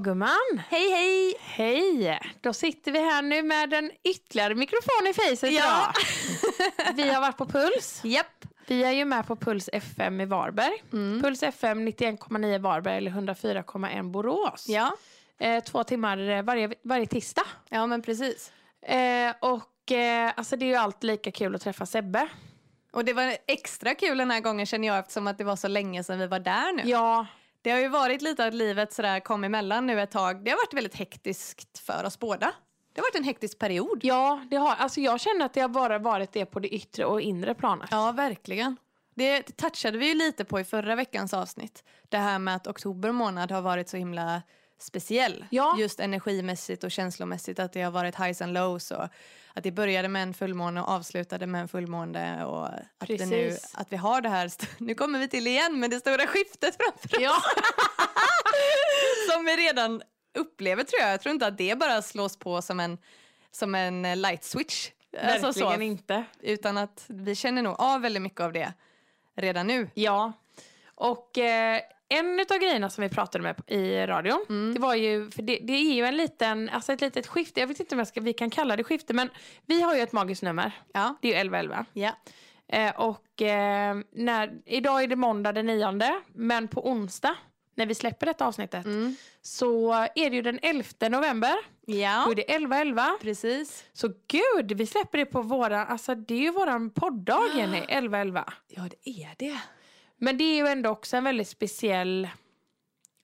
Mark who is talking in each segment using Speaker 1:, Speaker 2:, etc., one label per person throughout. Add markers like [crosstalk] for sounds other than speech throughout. Speaker 1: gumman!
Speaker 2: Hej hej!
Speaker 1: Hej! Då sitter vi här nu med en ytterligare mikrofon i facet
Speaker 2: Ja.
Speaker 1: idag. Vi har varit på Puls.
Speaker 2: Japp!
Speaker 1: Vi är ju med på Puls FM i Varberg. Puls FM 91,9 Varberg eller 104,1 Borås.
Speaker 2: Ja.
Speaker 1: Eh, två timmar eh, varje, varje tisdag.
Speaker 2: ja, men precis.
Speaker 1: Eh, och eh, alltså det är ju alltid lika kul att träffa Sebbe.
Speaker 2: Och det var extra kul den här gången känner jag eftersom att det var så länge sedan vi var där nu.
Speaker 1: Ja,
Speaker 2: Det har ju varit lite att livet sådär kom emellan nu ett tag. Det har varit väldigt hektiskt för oss båda. Det har varit en hektisk period.
Speaker 1: ja det har, alltså jag känner att det har bara varit det på det yttre och inre planet.
Speaker 2: Ja, verkligen. Det touchade vi ju lite på i förra veckans avsnitt. Det här med att oktober månad har varit så himla speciell.
Speaker 1: Ja.
Speaker 2: Just energimässigt och känslomässigt. Att det har varit highs and lows. Och att det började med en fullmåne och avslutade med en fullmåne. Och att, det nu,
Speaker 1: Precis.
Speaker 2: att vi har det här, st- [laughs] nu kommer vi till igen, men det stora skiftet
Speaker 1: [laughs]
Speaker 2: framför
Speaker 1: Ja.
Speaker 2: oss. Som vi redan upplever tror jag. Jag tror inte att det bara slås på som en, som en eh, light switch.
Speaker 1: Verkligen
Speaker 2: Alltså så,
Speaker 1: inte.
Speaker 2: utan att vi känner nog av väldigt mycket av det redan nu.
Speaker 1: Ja. Och eh, en av grejerna som vi pratade med p- i radion, det var ju, för det, det är ju en liten, alltså ett litet skifte, jag vet inte om jag ska, vi kan kalla det skifte, men vi har ju ett magiskt nummer,
Speaker 2: Ja.
Speaker 1: det är ju 1111.
Speaker 2: Ja.
Speaker 1: Eh, och eh, när, idag är det måndag den 9, men på onsdag, när vi släpper detta avsnittet, så är det ju den 11 november, då
Speaker 2: ja.
Speaker 1: är det 1111.
Speaker 2: Precis.
Speaker 1: Så gud, vi släpper det på våra, alltså det är ju våran poddag Jenny, 1111.
Speaker 2: Ja, det är det.
Speaker 1: Men det är ju ändå också en väldigt speciell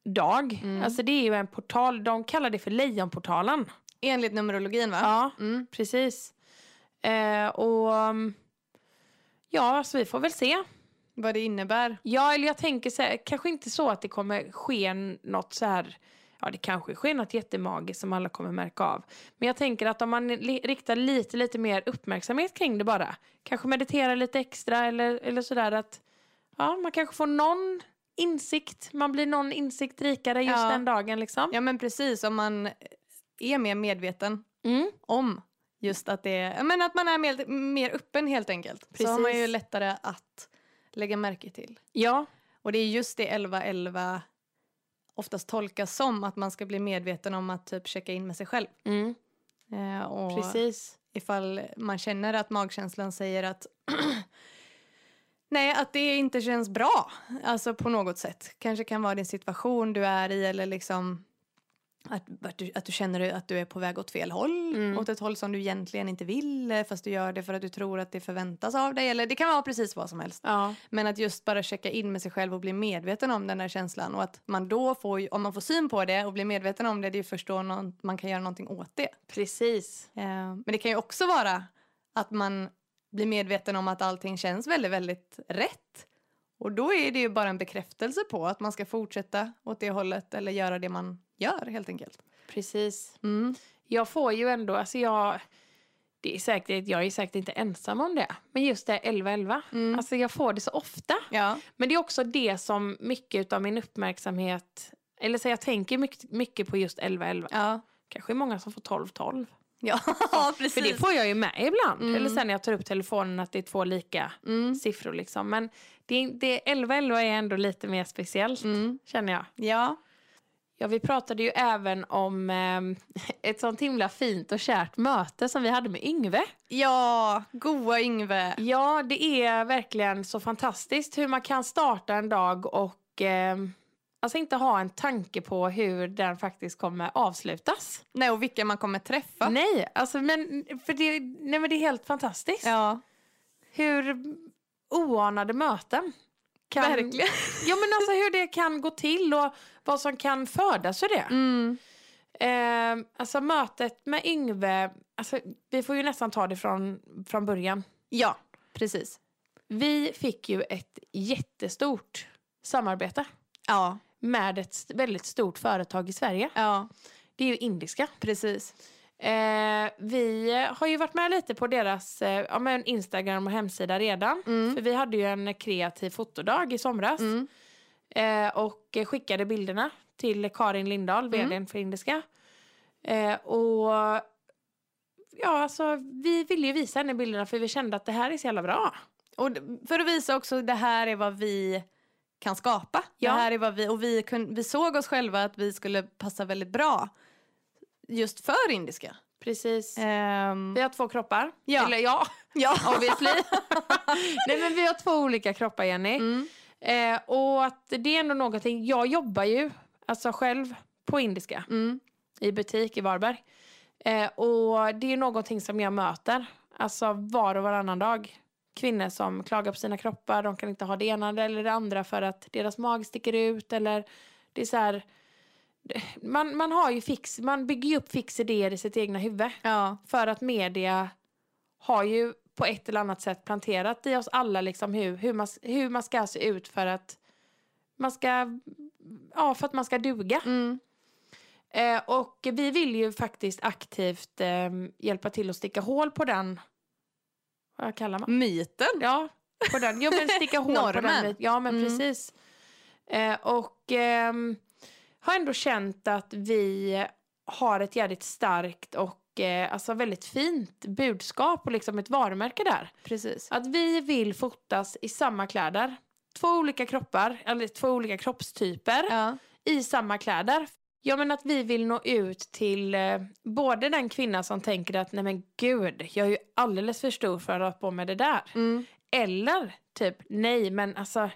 Speaker 1: dag. Alltså det är ju en portal, de kallar det för Lejonportalen.
Speaker 2: Enligt numerologin, va?
Speaker 1: Ja,
Speaker 2: Mm.
Speaker 1: precis. Eh, och mm, ja, alltså vi får väl se.
Speaker 2: Vad det innebär.
Speaker 1: Ja, eller jag tänker så här, kanske inte så att det kommer ske n- något så här, ja det kanske sker något jättemagiskt som alla kommer märka av. Men jag tänker att om man li- riktar lite, lite mer uppmärksamhet kring det bara, kanske meditera lite extra eller, eller sådär att, ja man kanske får någon insikt, man blir någon insikt rikare just
Speaker 2: Ja.
Speaker 1: den dagen liksom.
Speaker 2: Ja, men precis. Om man är mer medveten
Speaker 1: Mm.
Speaker 2: om just att det är... Men att man är mer, mer öppen helt enkelt. Så har man ju
Speaker 1: Precis.
Speaker 2: lättare att lägga märke till.
Speaker 1: Ja,
Speaker 2: Och det är just det 11-11 oftast tolkas som. Att man ska bli medveten om att typ checka in med sig själv.
Speaker 1: mm.
Speaker 2: Eh, och
Speaker 1: precis.
Speaker 2: ifall man känner att magkänslan säger att [clears throat] Nej, att det inte känns bra. Alltså på något sätt. Kanske kan vara din situation du är i eller liksom att, att, du, att du känner att du är på väg åt fel håll.
Speaker 1: Mm.
Speaker 2: Åt ett håll som du egentligen inte vill eh, fast du gör det för att du tror att det förväntas av dig. Eller det kan vara precis vad som helst.
Speaker 1: Ja,
Speaker 2: Men att just bara checka in med sig själv och bli medveten om den där känslan. Och att man då får, ju- om man får syn på det och blir medveten om det, det är ju först då någon, man kan göra någonting åt det.
Speaker 1: precis.
Speaker 2: Eh, Men det kan ju också vara att man blir medveten om att allting känns väldigt, väldigt rätt. Och då är det ju bara en bekräftelse på att man ska fortsätta åt det hållet eller göra det man gör helt enkelt.
Speaker 1: Precis.
Speaker 2: Mm.
Speaker 1: Jag får ju ändå, alltså jag, det är säkert, jag är säkert inte ensam om det. Men just det 11-11,
Speaker 2: Mm.
Speaker 1: alltså jag får det så ofta.
Speaker 2: Ja.
Speaker 1: Men det är också det som mycket av min uppmärksamhet, eller så jag tänker mycket, mycket på just 11-11.
Speaker 2: Ja.
Speaker 1: Kanske är många som får 12-12.
Speaker 2: Ja, [laughs] precis.
Speaker 1: För det får jag ju med ibland.
Speaker 2: Mm.
Speaker 1: Eller sen när jag tar upp telefonen att det är två lika
Speaker 2: mm.
Speaker 1: siffror liksom. Men det är- det är 11-11 är ändå lite mer speciellt,
Speaker 2: Mm.
Speaker 1: känner jag.
Speaker 2: Ja.
Speaker 1: Ja, vi pratade ju även om ehm, [laughs] ett sånt himla fint och kärt möte som vi hade med Yngve.
Speaker 2: ja, goa Yngve.
Speaker 1: Ja, det är verkligen så fantastiskt hur man kan starta en dag och ehm, alltså inte ha en tanke på hur den faktiskt kommer avslutas.
Speaker 2: Nej, och vilka man kommer träffa.
Speaker 1: Nej, alltså, men, för det, nej, men det är helt fantastiskt.
Speaker 2: Ja,
Speaker 1: Hur oanade möten kan...
Speaker 2: verkligen.
Speaker 1: Ja, men alltså hur det kan gå till och vad som kan födas ur det.
Speaker 2: Mm.
Speaker 1: Eh, alltså mötet med Yngve, alltså, vi får ju nästan ta det från, från början.
Speaker 2: Ja, precis.
Speaker 1: Vi fick ju ett jättestort samarbete
Speaker 2: Ja,
Speaker 1: med ett st- väldigt stort företag i Sverige.
Speaker 2: ja,
Speaker 1: Det är ju Indiska.
Speaker 2: precis.
Speaker 1: Eh, vi har ju varit med lite på deras eh, ja, men Instagram och hemsida redan.
Speaker 2: Mm.
Speaker 1: För vi hade ju en kreativ fotodag i somras
Speaker 2: Mm.
Speaker 1: eh, och eh, skickade bilderna till Karin Lindahl,
Speaker 2: Mm.
Speaker 1: vdn för Indiska. Eh, och ja, alltså, vi ville ju visa henne bilderna för vi kände att det här är så jävla bra.
Speaker 2: Och d- för att visa också, det här är vad vi kan skapa.
Speaker 1: Ja.
Speaker 2: Det här är vad vi, och vi, kun, vi såg oss själva att vi skulle passa väldigt bra just för indiska.
Speaker 1: Precis.
Speaker 2: Ehm,
Speaker 1: Vi har två kroppar.
Speaker 2: Ja.
Speaker 1: Eller ja,
Speaker 2: ja. [laughs]
Speaker 1: [laughs] obviously. [laughs] Nej men vi har två olika kroppar Jenny.
Speaker 2: Mm.
Speaker 1: Eh, och att det är ändå någonting, jag jobbar ju alltså själv på indiska
Speaker 2: Mm.
Speaker 1: i butik i Varberg. Eh, och det är någonting som jag möter, alltså var och varannan dag. Kvinnor som klagar på sina kroppar, de kan inte ha det ena eller det andra för att deras mag sticker ut eller det är så här, man, man har ju fix, man bygger ju upp fix idéer i sitt egna huvud.
Speaker 2: ja.
Speaker 1: För att media har ju på ett eller annat sätt planterat i oss alla liksom hur, hur, man, hur man ska se ut för att man ska, ja, för att man ska duga.
Speaker 2: Mm.
Speaker 1: Eh, och vi vill ju faktiskt aktivt eh, hjälpa till att sticka hål på den, vad kallar man?
Speaker 2: Myten.
Speaker 1: Ja, på den. Jo, men sticka hål på den.
Speaker 2: Normen.
Speaker 1: bit- Ja, men
Speaker 2: Mm.
Speaker 1: precis. Eh, och ehm, har ändå känt att vi har ett jävligt starkt och eh, alltså väldigt fint budskap och liksom ett varumärke där.
Speaker 2: Precis.
Speaker 1: Att vi vill fotas i samma kläder. Två olika kroppar, eller två olika kroppstyper
Speaker 2: Ja.
Speaker 1: i samma kläder. Ja men att vi vill nå ut till eh, både den kvinna som tänker att nej men gud, jag är ju alldeles för stor för att ha på mig det där.
Speaker 2: Mm.
Speaker 1: Eller typ, nej men alltså,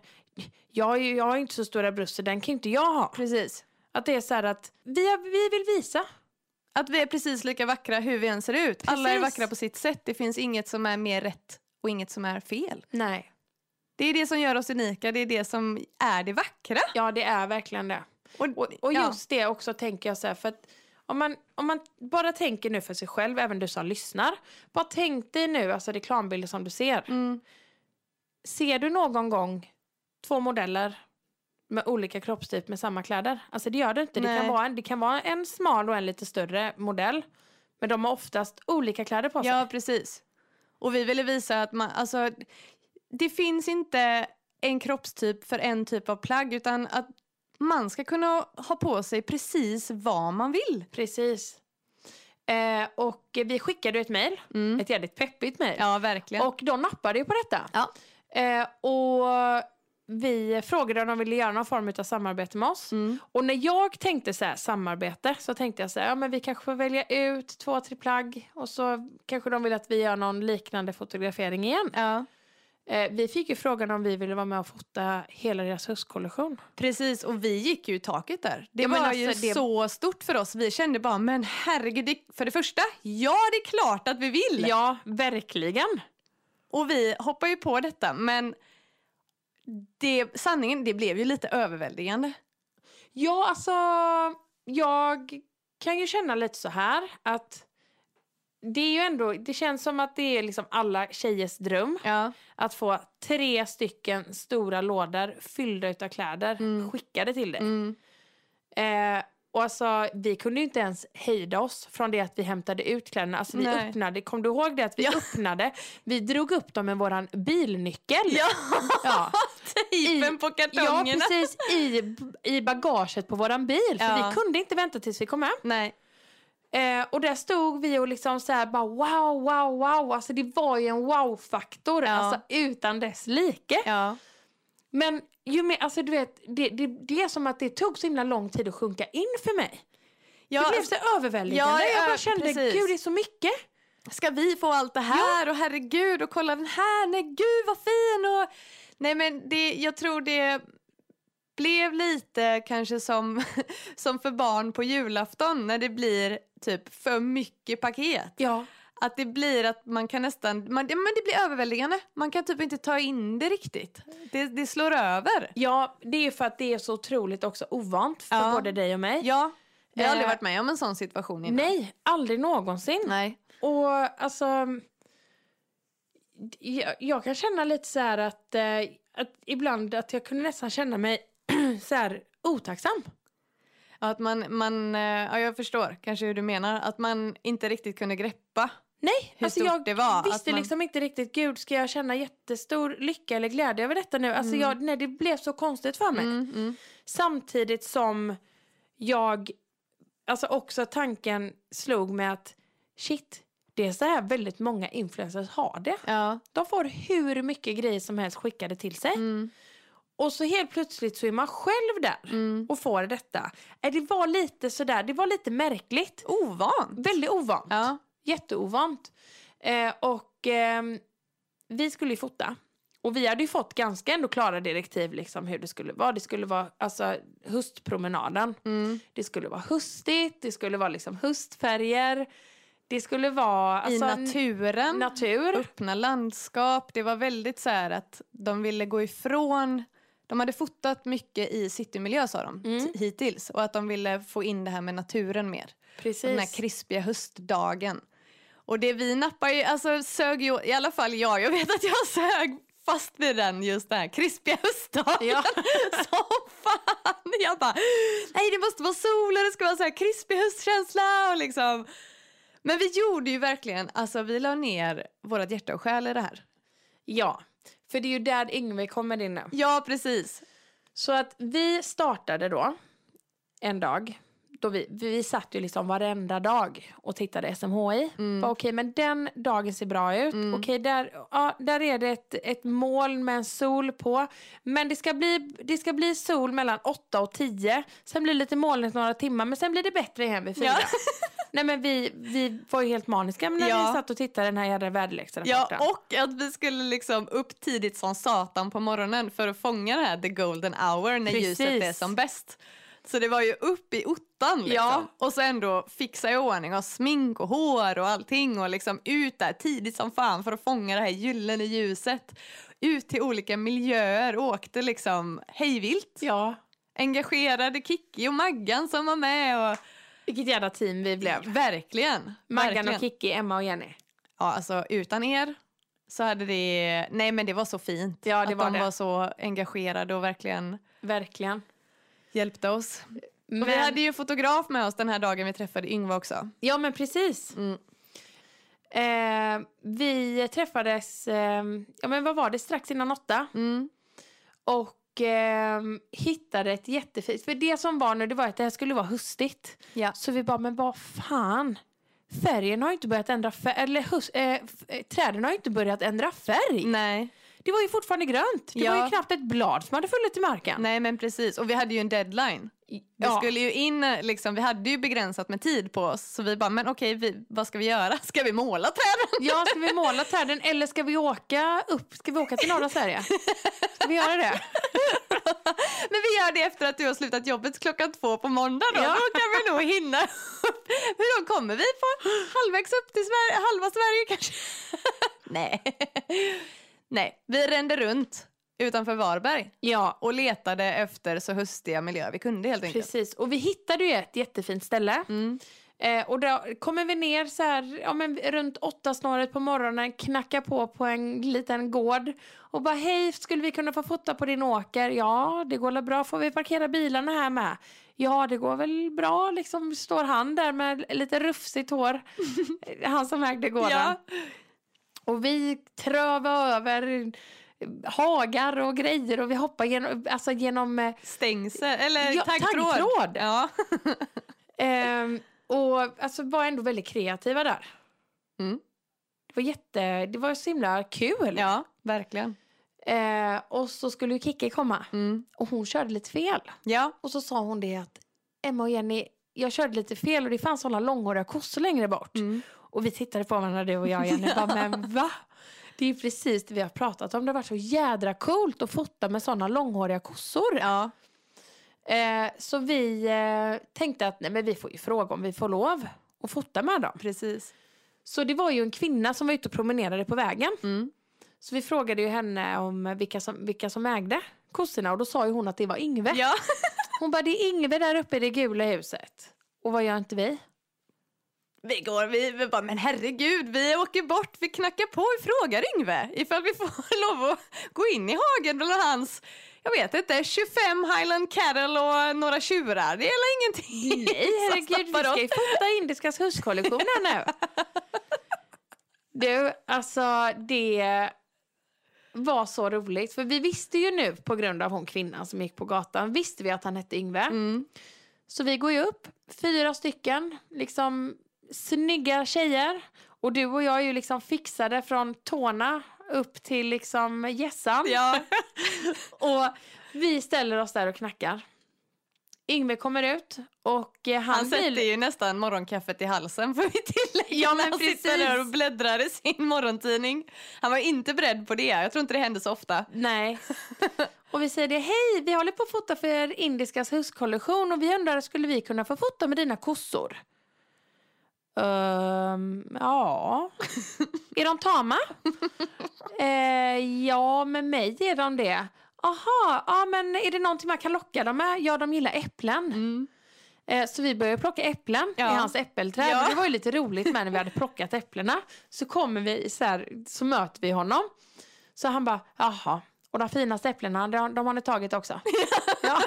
Speaker 1: jag, är ju- jag har ju inte så stora bröst så den kan ju inte jag ha.
Speaker 2: Precis.
Speaker 1: Att det är så här att vi, har- vi vill visa.
Speaker 2: Att vi är precis lika vackra hur vi än ser ut. Alla är
Speaker 1: Precis.
Speaker 2: vackra på sitt sätt. Det finns inget som är mer rätt och inget som är fel.
Speaker 1: Nej.
Speaker 2: Det är det som gör oss unika. Det är det som är det vackra.
Speaker 1: Ja det är verkligen det. Och, och
Speaker 2: ja.
Speaker 1: just det också tänker jag så här för att om man, om man bara tänker nu för sig själv, även du som lyssnar. Bara tänk dig nu, alltså reklambilder som du ser.
Speaker 2: Mm.
Speaker 1: Ser du någon gång två modeller med olika kroppstyp med samma kläder? Alltså det gör du inte. Det kan,
Speaker 2: Nej.
Speaker 1: vara en, det kan vara en smal och en lite större modell. Men de har oftast olika kläder på sig.
Speaker 2: Ja, precis. Och vi ville visa att man, alltså, det finns inte en kroppstyp för en typ av plagg utan att man ska kunna ha på sig precis vad man vill.
Speaker 1: Precis. Eh, och vi skickade ju ett mejl. Ett jävligt peppigt mejl.
Speaker 2: Mm. Ja, verkligen.
Speaker 1: Och de nappade ju på detta.
Speaker 2: Ja.
Speaker 1: Eh, och vi frågade om de ville göra någon form av samarbete med oss.
Speaker 2: Mm.
Speaker 1: Och när jag tänkte så här, samarbete så tänkte jag så här, ja men vi kanske får välja ut två, tre plagg och så kanske de vill att vi gör någon liknande fotografering igen.
Speaker 2: Ja,
Speaker 1: Eh, vi fick ju frågan om vi ville vara med och fota hela deras höstkollektion.
Speaker 2: precis. Och vi gick ju i taket där. Det
Speaker 1: Ja,
Speaker 2: var
Speaker 1: men
Speaker 2: ju
Speaker 1: alltså, det-
Speaker 2: så stort för oss. Vi kände bara, men herregud, det... för det första, ja det är klart att vi vill.
Speaker 1: Ja, verkligen.
Speaker 2: Och vi hoppar ju på detta, men det, sanningen, det blev ju lite överväldigande.
Speaker 1: Ja, alltså jag kan ju känna lite så här att det är ju ändå, det känns som att det är liksom alla tjejers dröm
Speaker 2: Ja,
Speaker 1: att få tre stycken stora lådor fyllda utav kläder
Speaker 2: Mm.
Speaker 1: skickade till dig.
Speaker 2: mm.
Speaker 1: Eh, och alltså, vi kunde ju inte ens hejda oss från det att vi hämtade ut kläderna. Alltså, vi
Speaker 2: Nej.
Speaker 1: öppnade, kom du ihåg det? Att vi öppnade, vi drog upp dem med våran bilnyckel. [laughs]
Speaker 2: ja.
Speaker 1: Ja. [laughs]
Speaker 2: tejpen på
Speaker 1: Ja,
Speaker 2: kartongerna.
Speaker 1: precis. I, I bagaget på våran bil. För
Speaker 2: Ja.
Speaker 1: vi kunde inte vänta tills vi kom hem.
Speaker 2: Nej.
Speaker 1: Eh, och där stod vi och liksom så här bara wow, wow, wow. Alltså det var ju en wow-faktor.
Speaker 2: Ja.
Speaker 1: Alltså utan dess like.
Speaker 2: Ja.
Speaker 1: Men ju mer, alltså du vet, det, det, det är som att det tog så himla lång tid att sjunka in för mig.
Speaker 2: Ja, alltså,
Speaker 1: det blev så överväldigande.
Speaker 2: ja,
Speaker 1: jag bara
Speaker 2: ö-
Speaker 1: kände,
Speaker 2: precis.
Speaker 1: gud det är så mycket.
Speaker 2: Ska vi få allt det här? Och herregud, och kolla den här. Nej, gud vad fin. Och... Nej, men det, jag tror det blev lite kanske som, [laughs] som för barn på julafton när det blir typ för mycket paket.
Speaker 1: Ja,
Speaker 2: Att det blir att man kan nästan, man, ja, men det blir överväldigande. Man kan typ inte ta in det riktigt. Det, det slår över.
Speaker 1: ja det är ju för att det är så otroligt också ovant för
Speaker 2: Ja.
Speaker 1: både dig och mig.
Speaker 2: Ja, jag har aldrig
Speaker 1: Eh,
Speaker 2: varit med om en sån situation innan.
Speaker 1: Nej, aldrig någonsin.
Speaker 2: Nej.
Speaker 1: Och alltså... Jag, jag kan känna lite så här att, eh, att ibland att jag kunde nästan känna mig [clears throat] så här otacksam.
Speaker 2: Ja, att man, man, eh, ja, jag förstår kanske hur du menar. Att man inte riktigt kunde greppa.
Speaker 1: Nej,
Speaker 2: Hur
Speaker 1: alltså
Speaker 2: stort
Speaker 1: jag
Speaker 2: det var, att
Speaker 1: visste
Speaker 2: man-
Speaker 1: liksom inte riktigt, gud ska jag känna jättestor lycka eller glädje över detta nu? Alltså
Speaker 2: Mm.
Speaker 1: jag, nej, det blev så konstigt för mig.
Speaker 2: Mm, mm.
Speaker 1: Samtidigt som jag, alltså också tanken slog mig att shit, det är så här väldigt många influencers har det.
Speaker 2: Ja.
Speaker 1: De får hur mycket grejer som helst skickade till sig.
Speaker 2: Mm.
Speaker 1: Och så helt plötsligt så är man själv där
Speaker 2: Mm.
Speaker 1: och får detta. Eh, Det var lite sådär, det var lite märkligt.
Speaker 2: Ovant.
Speaker 1: Väldigt ovant.
Speaker 2: Ja.
Speaker 1: Jätteovant. Eh, och ehm, vi skulle ju fota. Och vi hade ju fått ganska ändå klara direktiv liksom hur det skulle vara. Det skulle vara alltså höstpromenaden.
Speaker 2: Mm.
Speaker 1: Det skulle vara höstigt, det skulle vara liksom höstfärger. Det skulle vara alltså,
Speaker 2: I naturen.
Speaker 1: natur.
Speaker 2: öppna landskap. Det var väldigt så här att de ville gå ifrån... De hade fotat mycket i citymiljö sa de
Speaker 1: Mm.
Speaker 2: t- hittills och att de ville få in det här med naturen mer. Den här
Speaker 1: Precis.
Speaker 2: krispiga höstdagen. Och det vi nappar ju, alltså sög ju, i alla fall jag, jag vet att jag sög fast vid den just den här krispiga höstdagen.
Speaker 1: Ja.
Speaker 2: [laughs]
Speaker 1: [laughs]
Speaker 2: Som fan! Jag bara, nej det måste vara sol och det ska vara så här krispig höstkänsla och liksom. Men vi gjorde ju verkligen, alltså vi la ner vårat hjärta och själ i det här.
Speaker 1: Ja, för det är ju där Yngve kommer in nu.
Speaker 2: Ja precis.
Speaker 1: Så att vi startade då en dag. Då vi, vi satt ju liksom varenda dag och tittade SMHI.
Speaker 2: Mm.
Speaker 1: Bara, Okej, men den dagen ser bra ut.
Speaker 2: Mm.
Speaker 1: Okej, där, ja, där är det ett, ett moln med en sol på. Men det ska, bli, det ska bli sol mellan 8 och 10. Sen blir det lite molnigt några timmar, men sen blir det bättre igen vid 4.
Speaker 2: Ja.
Speaker 1: [laughs] Nej, men vi, vi var ju helt maniska när
Speaker 2: Ja.
Speaker 1: vi satt och tittade den här jädra väderleksrapporten.
Speaker 2: Ja, och att vi skulle liksom upp tidigt som satan på morgonen för att fånga det här the golden hour när
Speaker 1: Precis.
Speaker 2: ljuset är som bäst. Så det var ju upp i ottan liksom.
Speaker 1: Ja.
Speaker 2: Och så ändå fixa i ordning och smink och hår och allting och liksom ut där tidigt som fan för att fånga det här gyllene ljuset. Ut till olika miljöer, åkte liksom hejvilt.
Speaker 1: ja,
Speaker 2: Engagerade Kikki och Maggan som var med och
Speaker 1: vilket jädra team vi blev.
Speaker 2: verkligen.
Speaker 1: Maggan
Speaker 2: verkligen.
Speaker 1: och Kikki, Emma och Jenny.
Speaker 2: Ja, alltså utan er så hade det... Nej, men det var så fint.
Speaker 1: Ja, det
Speaker 2: att
Speaker 1: var
Speaker 2: de
Speaker 1: det.
Speaker 2: var så engagerade och verkligen
Speaker 1: Verkligen.
Speaker 2: hjälpte oss.
Speaker 1: Men,
Speaker 2: Och vi hade ju fotograf med oss den här dagen vi träffade Yngve också.
Speaker 1: Ja, men precis.
Speaker 2: Mm.
Speaker 1: Eh, vi träffades, eh, ja men vad var det, strax innan åtta.
Speaker 2: Mm.
Speaker 1: Och eh, hittade ett jättefint, för det som var nu det var att det här skulle vara höstigt.
Speaker 2: Ja.
Speaker 1: Så vi bara, men vad fan. Färgen har ju inte börjat ändra färg, eller hus, eh, f- eh, träden har ju inte börjat ändra färg.
Speaker 2: Nej.
Speaker 1: Det var ju fortfarande grönt. Det var
Speaker 2: Mm. Ja.
Speaker 1: ju knappt ett blad som hade fallit i marken.
Speaker 2: Nej, men precis. Och vi hade ju en deadline. Vi
Speaker 1: Ja.
Speaker 2: skulle ju in, liksom, vi hade ju begränsat med tid på oss. Så vi bara, men okej, vi, vad ska vi göra? [laughs] Ska vi måla träden?
Speaker 1: Ja, ska vi måla träden eller ska vi åka upp? Ska vi åka till norra Sverige?
Speaker 2: [laughs]
Speaker 1: Ska vi göra det?
Speaker 2: Men vi gör det efter att du har slutat jobbet klockan två på måndag då.
Speaker 1: Ja.
Speaker 2: Då kan vi nog hinna upp. Hur då kommer vi på halvvägs upp till Sverige, halva Sverige [laughs] [laughs] kanske? Nej. Nej, vi rände runt utanför Varberg
Speaker 1: Ja,
Speaker 2: och letade efter så höstiga miljöer vi kunde helt enkelt.
Speaker 1: precis. Och vi hittade ju ett jättefint ställe.
Speaker 2: Mm.
Speaker 1: Eh, och då kommer vi ner så här, ja, men runt åtta snåret på morgonen, knackar på på en liten gård och bara hej, skulle vi kunna få fota på din åker? Ja, det går väl bra. Får vi parkera bilarna här med? Ja, det går väl bra. Liksom står han där med lite rufsigt
Speaker 2: [laughs]
Speaker 1: hår, han som ägde gården.
Speaker 2: Ja.
Speaker 1: Och vi trövade över hagar och grejer och vi hoppade genom, alltså genom eh,
Speaker 2: Stängsel, eller
Speaker 1: Ja,
Speaker 2: Eh, taggtråd.
Speaker 1: taggtråd.
Speaker 2: Ja.
Speaker 1: Ehm, och alltså var ändå väldigt kreativa där.
Speaker 2: Mm.
Speaker 1: Det var jätte, det var så himla kul.
Speaker 2: ja, verkligen.
Speaker 1: Ehm, och så skulle ju Kikki komma
Speaker 2: Mm.
Speaker 1: och hon körde lite fel.
Speaker 2: Ja.
Speaker 1: Och så sa hon det att Emma och Jenny, jag körde lite fel och det fanns sådana långhåriga kossor längre bort.
Speaker 2: Mm.
Speaker 1: Och vi tittade på varandra du och jag
Speaker 2: [laughs]
Speaker 1: Jenny bara, men va? Det är ju precis det vi har pratat om. Det har varit så jädra coolt att fota med sådana långhåriga kossor.
Speaker 2: ja.
Speaker 1: Ehm, så vi eh, tänkte att nej, men vi får ju fråga om vi får lov att fota med dem.
Speaker 2: Precis.
Speaker 1: Så det var ju en kvinna som var ute och promenerade på vägen.
Speaker 2: Mm.
Speaker 1: Så vi frågade ju henne om vilka som, vilka som ägde kossorna och då sa ju hon att det var Yngve.
Speaker 2: Ja.
Speaker 1: Hon bara, det är Yngve där uppe i det gula huset. Och vad gör inte vi?
Speaker 2: Vi går, vi, vi bara, men herregud, vi åker bort, vi knackar på, vi frågar Yngve ifall vi får [laughs] lov att gå in i hagen bland hans, jag vet inte, 25 highland cattle och några tjurar. Det är väl
Speaker 1: [laughs]
Speaker 2: ingenting [laughs]
Speaker 1: Nej
Speaker 2: som
Speaker 1: herregud, vi
Speaker 2: stoppar
Speaker 1: ska
Speaker 2: oss.
Speaker 1: ju fota Indiskas huskollektion här nu. Du, alltså det var så roligt. För vi visste ju nu på grund av hon kvinnan som gick på gatan, visste vi att han hette Yngve.
Speaker 2: Mm.
Speaker 1: Så vi går ju upp, fyra stycken, liksom snygga tjejer. Och du och jag är ju liksom fixade från tårna upp till liksom hjässan.
Speaker 2: Ja,
Speaker 1: Och Vi ställer oss där och knackar. Yngve kommer ut och eh, han,
Speaker 2: Han
Speaker 1: blir...
Speaker 2: sätter ju nästan morgonkaffet i halsen får vi tillägga.
Speaker 1: Ja, men
Speaker 2: när han sitter
Speaker 1: precis.
Speaker 2: där och bläddrar i sin morgontidning. Han var inte beredd på det. Jag tror inte det hände så ofta.
Speaker 1: Nej. [laughs] Och vi säger det, hej, vi håller på att fota för Indiskas huskollektion och vi undrar, skulle vi kunna få fota med dina kossor? Ehm, ja. Är de tama? Eh, ja, med mig är de det. Aha, ja men är det någonting man kan locka dem med? Ja, de gillar äpplen.
Speaker 2: Mm.
Speaker 1: Eh, Så vi började plocka äpplen
Speaker 2: Ja.
Speaker 1: i hans äppelträd.
Speaker 2: Ja.
Speaker 1: Och det var ju lite roligt men när vi hade plockat äpplena. Så kommer vi så här, så möter vi honom. Så han bara, jaha. Och de finaste äpplena, de, de har ni tagit
Speaker 2: [laughs]
Speaker 1: också. ja.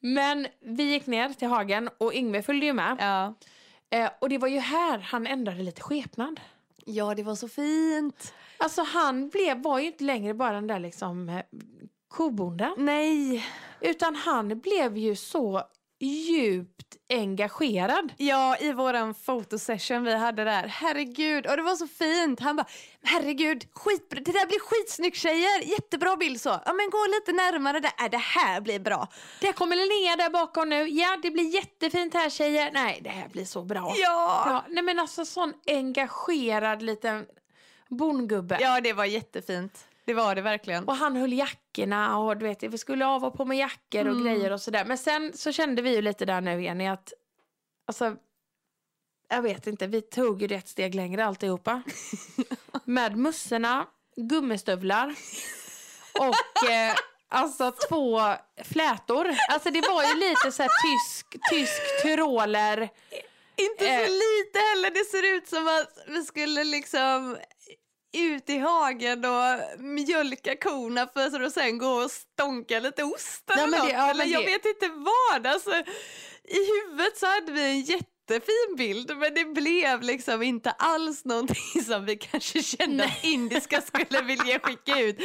Speaker 1: Men vi gick ner till hagen och Yngve följde ju med.
Speaker 2: Ja.
Speaker 1: Eh, och det var ju här han ändrade lite skepnad.
Speaker 2: ja, det var så fint.
Speaker 1: Alltså han blev, var ju inte längre bara den där liksom eh, kobonden.
Speaker 2: Nej.
Speaker 1: Utan han blev ju så djupt engagerad.
Speaker 2: Ja, i våran fotosession vi hade där. Herregud, och det var så fint. Han bara, herregud, skit, det där blir skitsnygg tjejer. Jättebra bild så. Ja, men gå lite närmare där. Äh, det här blir bra.
Speaker 1: Där kommer Linnea där bakom nu. Ja, det blir jättefint här tjejer. Nej, det här blir så bra.
Speaker 2: Ja!
Speaker 1: Ja, nej men alltså sån engagerad liten bondgubbe.
Speaker 2: Ja, det var jättefint. Det var det verkligen.
Speaker 1: Och han höll jackorna och du vet, vi skulle av och på med jackor och
Speaker 2: Mm.
Speaker 1: grejer och sådär. Men sen så kände vi ju lite där nu Jenny att, alltså, jag vet inte, vi tog ju det ett steg längre
Speaker 2: [laughs]
Speaker 1: alltihopa. Med mussorna, gummistövlar och eh, alltså två flätor. Alltså det var ju lite så här tysk, tysk tyroler.
Speaker 2: Inte
Speaker 1: Eh.
Speaker 2: så lite heller. Det ser ut som att vi skulle liksom ut i hagen och mjölka korna för att sen gå och stånka lite ost eller
Speaker 1: Ja, men det-
Speaker 2: något.
Speaker 1: ja,
Speaker 2: eller
Speaker 1: men
Speaker 2: jag
Speaker 1: det-
Speaker 2: vet inte vad. Alltså, I huvudet så hade vi en jättefin bild men det blev liksom inte alls någonting som vi kanske kände att indiska skulle vilja skicka ut.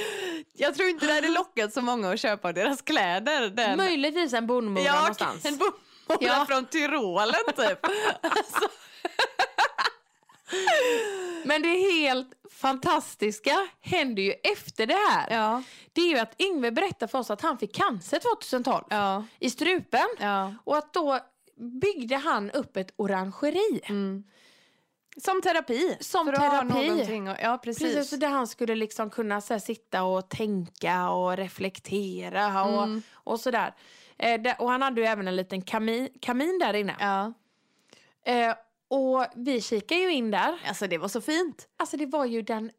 Speaker 2: Jag tror inte det hade lockat så många att köpa deras kläder. Den
Speaker 1: Möjligtvis en bondmora
Speaker 2: Ja,
Speaker 1: någonstans.
Speaker 2: En bomull
Speaker 1: Ja.
Speaker 2: från Tyrolen typ. alltså,
Speaker 1: Men det helt fantastiska hände ju efter det här.
Speaker 2: ja,
Speaker 1: Det är ju att Yngve berättar för oss att han fick cancer 2012
Speaker 2: ja,
Speaker 1: i strupen.
Speaker 2: ja.
Speaker 1: Och att då byggde han upp ett orangeri.
Speaker 2: Mm, Som terapi.
Speaker 1: Som
Speaker 2: För Att ha
Speaker 1: terapi.
Speaker 2: någonting och, ja, precis.
Speaker 1: Precis, så där han skulle liksom kunna så här, sitta och tänka och reflektera och,
Speaker 2: Mm.
Speaker 1: och sådär. Eh, där- och han hade ju även en liten kamin, kamin där inne.
Speaker 2: Ja.
Speaker 1: Eh, och vi kikade ju in där.
Speaker 2: Alltså det var så fint.
Speaker 1: Alltså det var ju den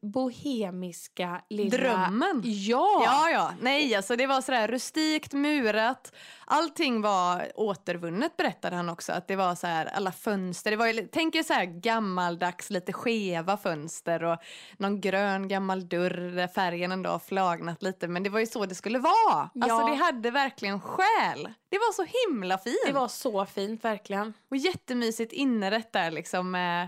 Speaker 1: bohemiska lilla...
Speaker 2: Drömmen.
Speaker 1: Ja!
Speaker 2: Ja, ja. Nej, alltså det var sådär rustikt, murat. Allting var återvunnet berättade han också. Att det var så här alla fönster. Det var ju, tänk er så här gammaldags, lite skeva fönster och någon grön gammal dörr där färgen ändå har flagnat lite. Men det var ju så det skulle vara. Alltså
Speaker 1: Ja.
Speaker 2: det hade verkligen själ. Det var så himla fint.
Speaker 1: Det var så fint verkligen.
Speaker 2: Och jättemysigt innerrätt där liksom. Eh,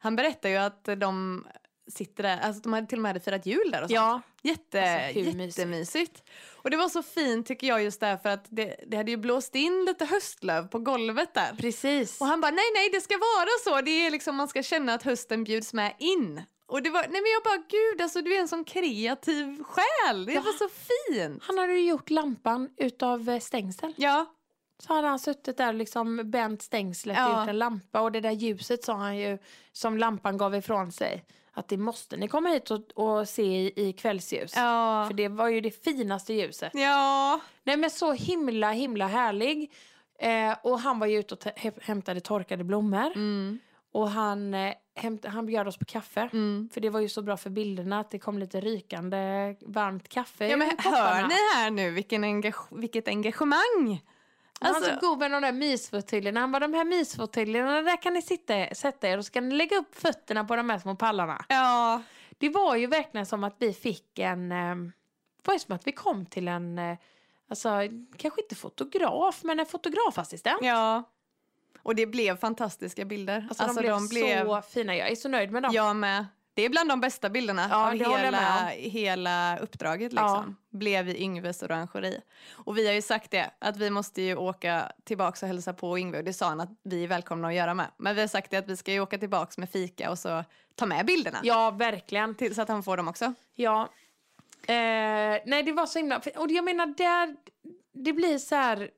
Speaker 2: han berättar ju att de sitter där, alltså de hade till och med hade firat jul där och sånt.
Speaker 1: Ja.
Speaker 2: Jätte,
Speaker 1: Alltså, hur mysigt?
Speaker 2: jättemysigt. Och det var så fint tycker jag just därför att det, det hade ju blåst in lite höstlöv på golvet där.
Speaker 1: Precis.
Speaker 2: Och han bara nej nej det ska vara så, det är liksom man ska känna att hösten bjuds med in. Och det var, nej men jag bara gud alltså du är en sån kreativ själ, det
Speaker 1: Ja.
Speaker 2: var så fint.
Speaker 1: Han hade ju gjort lampan utav eh, stängsel.
Speaker 2: Ja,
Speaker 1: Så hade han suttit där och liksom bänt stängslet
Speaker 2: Ja.
Speaker 1: och gjort en lampa. Och det där ljuset sa han ju, som lampan gav ifrån sig. Att det måste ni komma hit och, och se i, i kvällsljus.
Speaker 2: ja,
Speaker 1: För det var ju det finaste ljuset.
Speaker 2: ja,
Speaker 1: Nej men så himla himla härlig. Eh, och han var ju ute och ta- he- hämtade torkade blommor.
Speaker 2: mm.
Speaker 1: Och han, eh, hämt, han bjöd oss på kaffe.
Speaker 2: Mm.
Speaker 1: För det var ju så bra för bilderna att det kom lite rykande varmt kaffe
Speaker 2: Ja, men
Speaker 1: ur
Speaker 2: hör
Speaker 1: kopparna.
Speaker 2: ni här nu vilken engage, vilket engagemang?
Speaker 1: Alltså,
Speaker 2: Alltså,
Speaker 1: han så god med de där mysfåtöljerna. Han bara, de här mysfåtöljerna, där kan ni sitta, sätta er och så kan ni lägga upp fötterna på de här små pallarna.
Speaker 2: ja,
Speaker 1: Det var ju verkligen som att vi fick en... Eh, det var ju som att vi kom till en, eh, alltså kanske inte fotograf, men en fotografassistent.
Speaker 2: ja. Och det blev fantastiska bilder.
Speaker 1: Alltså, de, blev så fina. Jag är så nöjd med dem.
Speaker 2: Jag med. Det är bland de bästa bilderna
Speaker 1: Ja,
Speaker 2: av
Speaker 1: det håller jag med
Speaker 2: hela, hela uppdraget. Liksom. Blev i Yngves orangeri. Och vi har ju sagt det, att vi måste ju åka tillbaka och hälsa på Yngve. Och det sa han att vi är välkomna att göra med. Men vi har sagt det att vi ska ju åka tillbaka med fika och så ta med bilderna.
Speaker 1: Ja, verkligen.
Speaker 2: Till, så att han får dem också.
Speaker 1: Ja. Eh, nej, det var så himla... för- Och jag menar, där, det blir så här...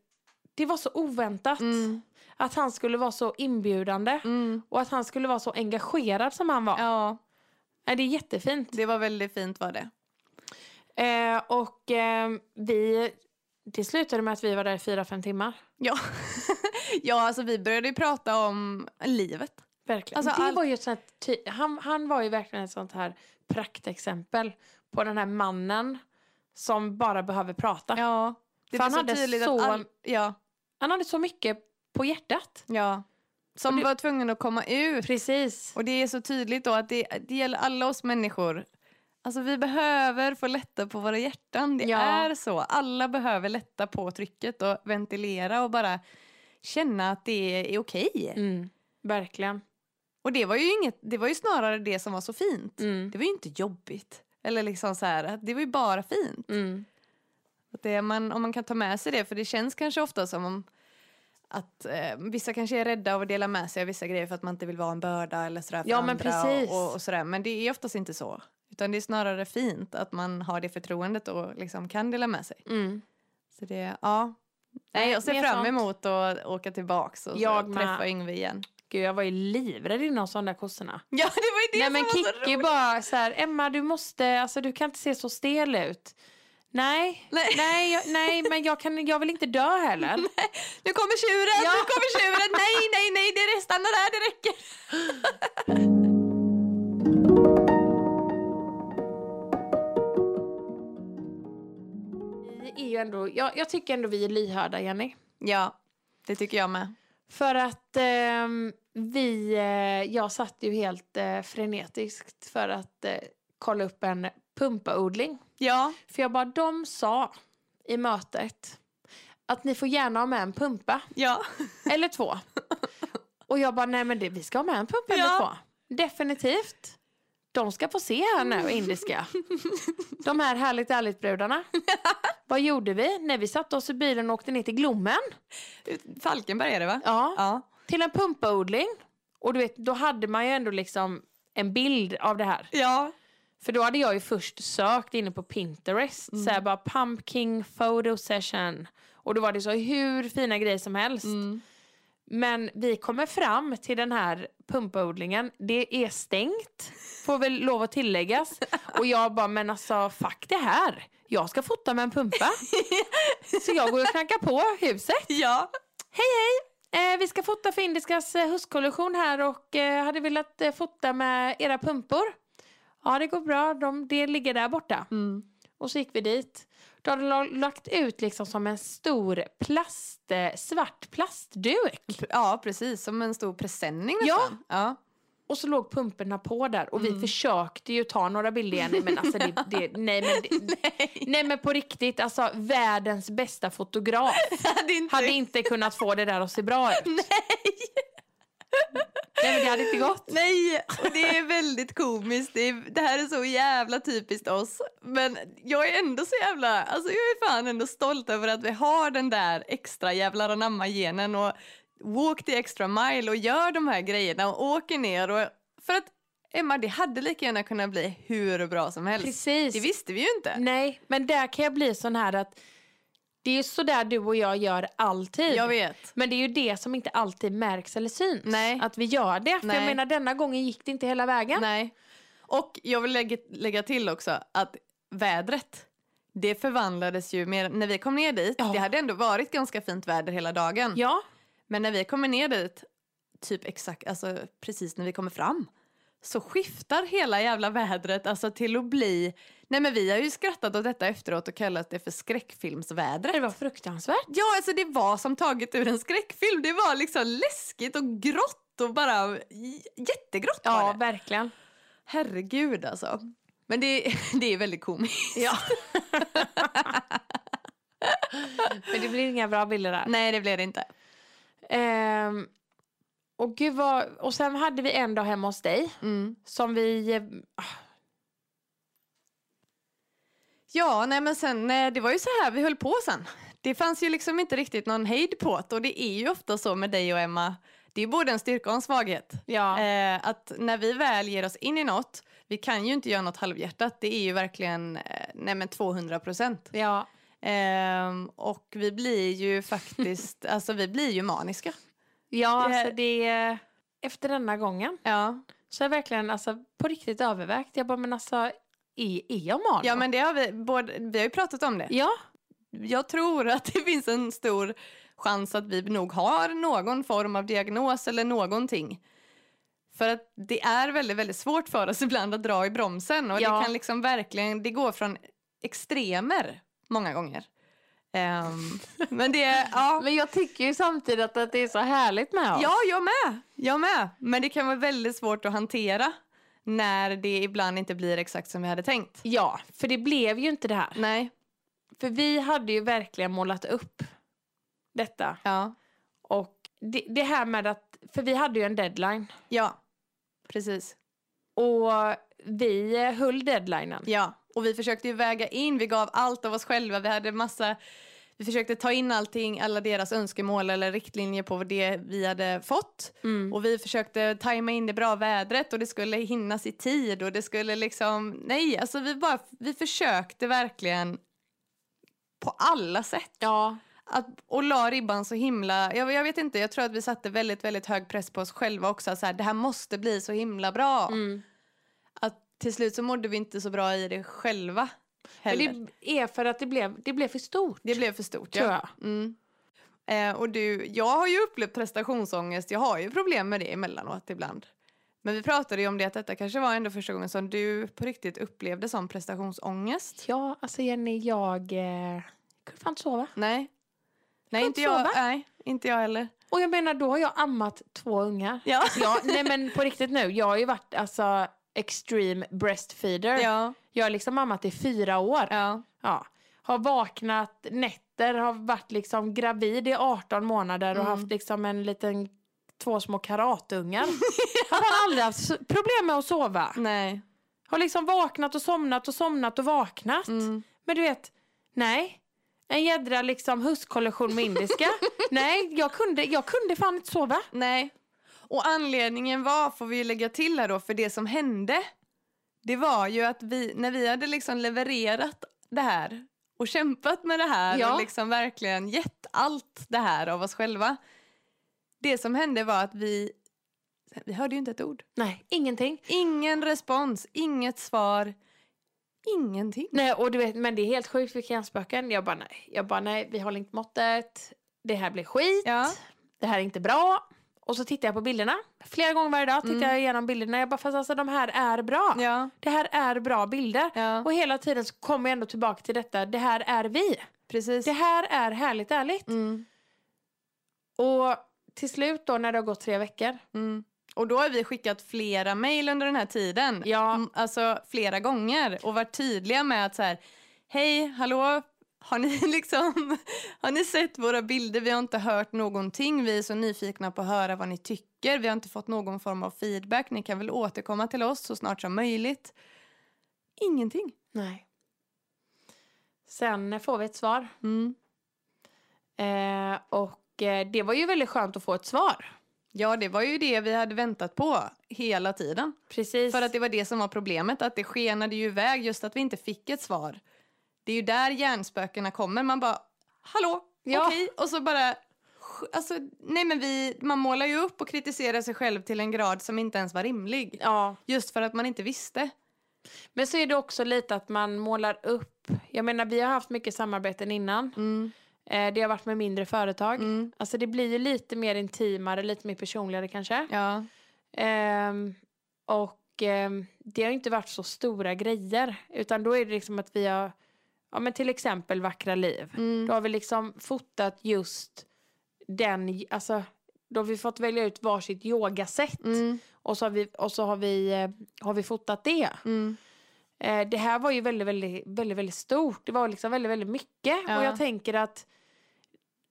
Speaker 1: Det var så oväntat
Speaker 2: Mm.
Speaker 1: att han skulle vara så inbjudande
Speaker 2: Mm.
Speaker 1: och att han skulle vara så engagerad som han var.
Speaker 2: Ja,
Speaker 1: Nej, det är jättefint.
Speaker 2: det var väldigt fint var det.
Speaker 1: Eh, och eh, vi... Det slutade med att vi var där i fyra, fem timmar.
Speaker 2: Ja. [laughs] ja, alltså vi började ju prata om livet.
Speaker 1: Verkligen.
Speaker 2: Alltså,
Speaker 1: det
Speaker 2: allt-
Speaker 1: var ju ett sånt här ty- han, han var ju verkligen ett sånt här praktexempel på den här mannen som bara behöver prata.
Speaker 2: Ja. Det
Speaker 1: För
Speaker 2: var
Speaker 1: han
Speaker 2: så
Speaker 1: hade
Speaker 2: tydligt
Speaker 1: så-
Speaker 2: att all... Ja,
Speaker 1: Han hade så mycket på hjärtat.
Speaker 2: ja. Som
Speaker 1: Och det-
Speaker 2: var tvungen att komma ut.
Speaker 1: Precis.
Speaker 2: Och det är så tydligt då att det, det gäller alla oss människor. Alltså vi behöver få lätta på våra hjärtan. Det
Speaker 1: Ja.
Speaker 2: är så. Alla behöver lätta på trycket och ventilera och bara känna att det är okej.
Speaker 1: Mm, verkligen.
Speaker 2: Och det var ju inget, det var ju snarare det som var så fint.
Speaker 1: Mm,
Speaker 2: Det var ju inte jobbigt. Eller liksom så här, att det var ju bara fint.
Speaker 1: mm,
Speaker 2: Att det, man, om man kan ta med sig det, för det känns kanske ofta som om att eh, vissa kanske är rädda av att dela med sig av vissa grejer för att man inte vill vara en börda eller sådär för
Speaker 1: Ja, men
Speaker 2: andra
Speaker 1: precis.
Speaker 2: Och, och sådär. Men det är oftast inte så. Utan det är snarare fint att man har det förtroendet och liksom kan dela med sig.
Speaker 1: mm.
Speaker 2: Så det, ja. Nej, jag ser
Speaker 1: mer
Speaker 2: fram
Speaker 1: sånt.
Speaker 2: emot att åka tillbaks och
Speaker 1: Jag
Speaker 2: så,
Speaker 1: med.
Speaker 2: träffa Yngve igen. [laughs]
Speaker 1: Gud, jag var ju livrädd innan sådana där kossorna.
Speaker 2: Ja, det var ju det
Speaker 1: Nej
Speaker 2: som
Speaker 1: men
Speaker 2: var så
Speaker 1: Kikki
Speaker 2: roligt.
Speaker 1: bara så här, Emma du måste, alltså du kan inte se så stel ut. Nej,
Speaker 2: Nej.
Speaker 1: nej, jag, nej men jag, kan, jag vill inte dö heller.
Speaker 2: [laughs] Nu kommer tjuren,
Speaker 1: Ja.
Speaker 2: nu kommer tjuren! Nej, nej, nej, det är, stanna där, det räcker!
Speaker 1: Vi är ju ändå, jag, jag tycker ändå vi är lyhörda Jenny.
Speaker 2: Ja, det tycker jag med.
Speaker 1: För att ehm, vi, eh, jag satt ju helt eh, frenetiskt för att eh, kolla upp en pumpaodling.
Speaker 2: Ja,
Speaker 1: För jag bara, de sa i mötet att ni får gärna ha med en pumpa
Speaker 2: ja.
Speaker 1: eller två. Och jag bara, nej men det, vi ska ha med en pumpa eller
Speaker 2: Ja.
Speaker 1: två. Definitivt. De ska få se här nu, indiska. De här härligt ärligt brudarna. Vad gjorde vi? När vi satte oss i bilen och åkte ner till Glommen.
Speaker 2: Falkenberg är det va?
Speaker 1: Ja.
Speaker 2: Ja.
Speaker 1: till en pumpaodling. Och du vet, då hade man ju ändå liksom en bild av det här.
Speaker 2: Ja.
Speaker 1: För då hade jag ju först sökt inne på Pinterest. Så här bara pumpkin photo session. Och då var det så hur fina grejer som helst.
Speaker 2: Mm.
Speaker 1: Men vi kommer fram till den här pumpaodlingen. Det är stängt, får väl lov att tilläggas. Och jag bara, men alltså fuck det här. Jag ska fota med en pumpa. Så jag går och knackar på huset.
Speaker 2: Ja.
Speaker 1: Hej hej! Eh, vi ska fota för Indiskas eh, höstkollektion här och eh, hade velat eh, fota med era pumpor. Ja det går bra, De, det ligger där borta.
Speaker 2: Mm.
Speaker 1: Och så gick vi dit. Då hade de la- lagt ut liksom som en stor plast, eh, svart plastduk.
Speaker 2: ja, precis. Som en stor presenning
Speaker 1: Ja.
Speaker 2: nästan. Ja.
Speaker 1: Och så låg pumporna på där och vi
Speaker 2: Mm.
Speaker 1: försökte ju ta några bilder igen men alltså det,
Speaker 2: [laughs]
Speaker 1: det, nej men det,
Speaker 2: Nej,
Speaker 1: nej men på riktigt alltså världens bästa fotograf
Speaker 2: hade inte...
Speaker 1: hade inte kunnat få det där att se bra ut.
Speaker 2: Nej.
Speaker 1: Nej men det hade inte gått.
Speaker 2: Nej, och det är väldigt komiskt. Det, är, det här är så jävla typiskt oss. Men jag är ändå så jävla, alltså jag är fan ändå stolt över att vi har den där extra jävlar anamma-genen och walk the extra mile och gör de här grejerna och åker ner och för att Emma, det hade lika gärna kunnat bli hur bra som helst.
Speaker 1: Precis.
Speaker 2: Det visste vi ju inte.
Speaker 1: Nej, men där kan jag bli sån här att det är ju så där du och jag gör alltid.
Speaker 2: Jag vet.
Speaker 1: Men det är ju det som inte alltid märks eller syns.
Speaker 2: Nej.
Speaker 1: Att vi gör det. För jag
Speaker 2: Nej.
Speaker 1: menar denna gången gick det inte hela vägen.
Speaker 2: Nej. Och jag vill lägga, lägga till också att vädret det förvandlades ju mer när vi kom ner dit.
Speaker 1: Ja.
Speaker 2: Det hade ändå varit ganska fint väder hela dagen.
Speaker 1: Ja,
Speaker 2: Men när vi kommer ner dit, typ exakt, alltså precis när vi kommer fram så skiftar hela jävla vädret alltså till att bli... Nej men vi har ju skrattat åt detta efteråt och kallat det för skräckfilmsvädret.
Speaker 1: det var fruktansvärt.
Speaker 2: Ja, alltså det var som taget ur en skräckfilm. Det var liksom läskigt och grått och bara j- jättegrått var
Speaker 1: Ja,
Speaker 2: det.
Speaker 1: verkligen.
Speaker 2: Herregud alltså. Men det, [laughs] det är väldigt komiskt.
Speaker 1: Ja. men det blir inga bra bilder där.
Speaker 2: Nej, det blev det inte.
Speaker 1: Ehm, och, gud vad, och sen hade vi en dag hemma hos dig
Speaker 2: Mm.
Speaker 1: som vi... eh,
Speaker 2: Ja, nej men sen, eh, det var ju så här vi höll på sen. Det fanns ju liksom inte riktigt någon hejd på det och det är ju ofta så med dig och Emma. det är både en styrka och en svaghet.
Speaker 1: Ja.
Speaker 2: Eh, att när vi väl ger oss in i något, vi kan ju inte göra något halvhjärtat, det är ju verkligen eh, nej men 200 procent.
Speaker 1: ja.
Speaker 2: Ehm, och vi blir
Speaker 1: [laughs]
Speaker 2: ju faktiskt, alltså vi blir ju maniska.
Speaker 1: Ja,
Speaker 2: Det-
Speaker 1: alltså det... Efter denna gången
Speaker 2: Ja,
Speaker 1: så har jag verkligen alltså, på riktigt övervägt. Jag bara, men alltså, är, är jag Malin?
Speaker 2: ja men det har vi, både, vi har ju pratat om det.
Speaker 1: Ja,
Speaker 2: Jag tror att det finns en stor chans att vi nog har någon form av diagnos eller någonting. För att det är väldigt, väldigt svårt för oss [laughs] ibland att dra i bromsen och
Speaker 1: Ja.
Speaker 2: det kan liksom verkligen, det går från extremer många gånger. Ehm, men det, ja.
Speaker 1: men jag tycker ju samtidigt att, att det är så härligt med oss.
Speaker 2: Ja, jag med. Jag med. Men det kan vara väldigt svårt att hantera när det ibland inte blir exakt som vi hade tänkt.
Speaker 1: ja, för det blev ju inte det här.
Speaker 2: Nej.
Speaker 1: För vi hade ju verkligen målat upp detta.
Speaker 2: Ja.
Speaker 1: Och det, det här med att, för vi hade ju en deadline.
Speaker 2: Ja. Precis.
Speaker 1: Och vi eh, höll deadlinen.
Speaker 2: Ja. Och vi försökte ju väga in, vi gav allt av oss själva, vi hade massa vi försökte ta in allting, alla deras önskemål eller riktlinjer på det vi hade fått.
Speaker 1: Mm.
Speaker 2: Och vi försökte tajma in det bra vädret och det skulle hinnas i tid och det skulle liksom, nej, alltså vi bara, vi försökte verkligen på alla sätt.
Speaker 1: Ja,
Speaker 2: att, och la ribban så himla... Jag, jag vet inte, jag tror att vi satte väldigt, väldigt hög press på oss själva också. Så här, det här måste bli så himla bra.
Speaker 1: mm.
Speaker 2: Att till slut så mådde vi inte så bra i det själva
Speaker 1: Men
Speaker 2: heller. Det,
Speaker 1: det är för att det blev, det blev för stort.
Speaker 2: blev för stort.
Speaker 1: tror
Speaker 2: Ja.
Speaker 1: jag.
Speaker 2: Mm. Eh, och du, jag har ju upplevt prestationsångest. Jag har ju problem med det emellanåt ibland. Men vi pratade ju om det att detta kanske var ändå första gången som du på riktigt upplevde som prestationsångest.
Speaker 1: Ja, alltså Jenny, jag eh, kunde fan inte sova.
Speaker 2: Nej. Nej
Speaker 1: Skönt
Speaker 2: inte, jag,
Speaker 1: sova.
Speaker 2: nej, inte jag heller.
Speaker 1: Och jag menar, då har jag ammat två ungar.
Speaker 2: Ja.
Speaker 1: [laughs] Ja, nej men på riktigt nu, jag har ju varit alltså extreme breastfeeder.
Speaker 2: ja.
Speaker 1: Jag har liksom ammat i fyra år.
Speaker 2: ja.
Speaker 1: Ja. Har vaknat nätter, har varit liksom gravid i 18 månader och
Speaker 2: Mm.
Speaker 1: haft liksom en liten två små
Speaker 2: [laughs]
Speaker 1: karatungar. Jag har aldrig haft so- problem med att sova.
Speaker 2: Nej.
Speaker 1: Har liksom vaknat och somnat och somnat och vaknat.
Speaker 2: Mm.
Speaker 1: Men du vet, nej. En jädra liksom huskollektion med indiska.
Speaker 2: [laughs]
Speaker 1: nej, jag kunde, jag kunde fan inte sova.
Speaker 2: Nej. Och anledningen var, får vi ju lägga till här då, för det som hände det var ju att vi, när vi hade liksom levererat det här och kämpat med det här
Speaker 1: Ja.
Speaker 2: och liksom verkligen gett allt det här av oss själva. Det som hände var att vi, vi hörde ju inte ett ord.
Speaker 1: Nej, ingenting.
Speaker 2: Ingen respons, inget svar, ingenting.
Speaker 1: Nej, och du vet, men det är helt sjukt vilka hjärnspöken. Jag bara nej, jag bara nej, vi håller inte måttet. Det här blir skit.
Speaker 2: Ja.
Speaker 1: Det här är inte bra. Och så tittar jag på bilderna. Flera gånger varje dag tittar
Speaker 2: Mm.
Speaker 1: jag igenom bilderna. Jag bara, fast alltså de här är bra.
Speaker 2: Ja.
Speaker 1: Det här är bra bilder.
Speaker 2: Ja,
Speaker 1: Och hela tiden så kommer jag ändå tillbaka till detta. Det här är vi.
Speaker 2: precis.
Speaker 1: Det här är härligt ärligt.
Speaker 2: Mm,
Speaker 1: Och till slut då när det har gått tre veckor.
Speaker 2: mm. Och då har vi skickat flera mejl under den här tiden.
Speaker 1: Ja,
Speaker 2: Mm, alltså flera gånger och varit tydliga med att så här, hej, hallå, har ni, [laughs] liksom, har ni sett våra bilder? Vi har inte hört någonting. Vi är så nyfikna på att höra vad ni tycker. Vi har inte fått någon form av feedback. Ni kan väl återkomma till oss så snart som möjligt. Ingenting.
Speaker 1: nej. Sen får vi ett svar.
Speaker 2: Mm.
Speaker 1: Eh, och eh, det var ju väldigt skönt att få ett svar.
Speaker 2: Ja, det var ju det vi hade väntat på hela tiden.
Speaker 1: Precis.
Speaker 2: För att det var det som var problemet, att det skenade ju iväg just att vi inte fick ett svar. Det är ju där hjärnspökena kommer, man bara hallå,
Speaker 1: Ja.
Speaker 2: okej, och så bara Alltså, nej men vi, man målar ju upp och kritiserar sig själv till en grad som inte ens var rimlig.
Speaker 1: Ja,
Speaker 2: Just för att man inte visste.
Speaker 1: men så är det också lite att man målar upp. Jag menar, vi har haft mycket samarbeten innan.
Speaker 2: Mm,
Speaker 1: Eh, det har varit med mindre företag.
Speaker 2: mm,
Speaker 1: Alltså det blir ju lite mer intimare, lite mer personligare kanske.
Speaker 2: ja,
Speaker 1: Ehm, och ehm, det har ju inte varit så stora grejer. Utan då är det liksom att vi har, ja men till exempel Vackra liv. Då
Speaker 2: mm,
Speaker 1: har vi liksom fotat just den, alltså då har vi fått välja ut varsitt yogasätt.
Speaker 2: mm,
Speaker 1: Och så, har vi, och så har, vi, eh, har vi fotat det.
Speaker 2: mm,
Speaker 1: Eh, det här var ju väldigt, väldigt, väldigt, väldigt stort. Det var liksom väldigt, väldigt mycket.
Speaker 2: Ja.
Speaker 1: Och jag tänker att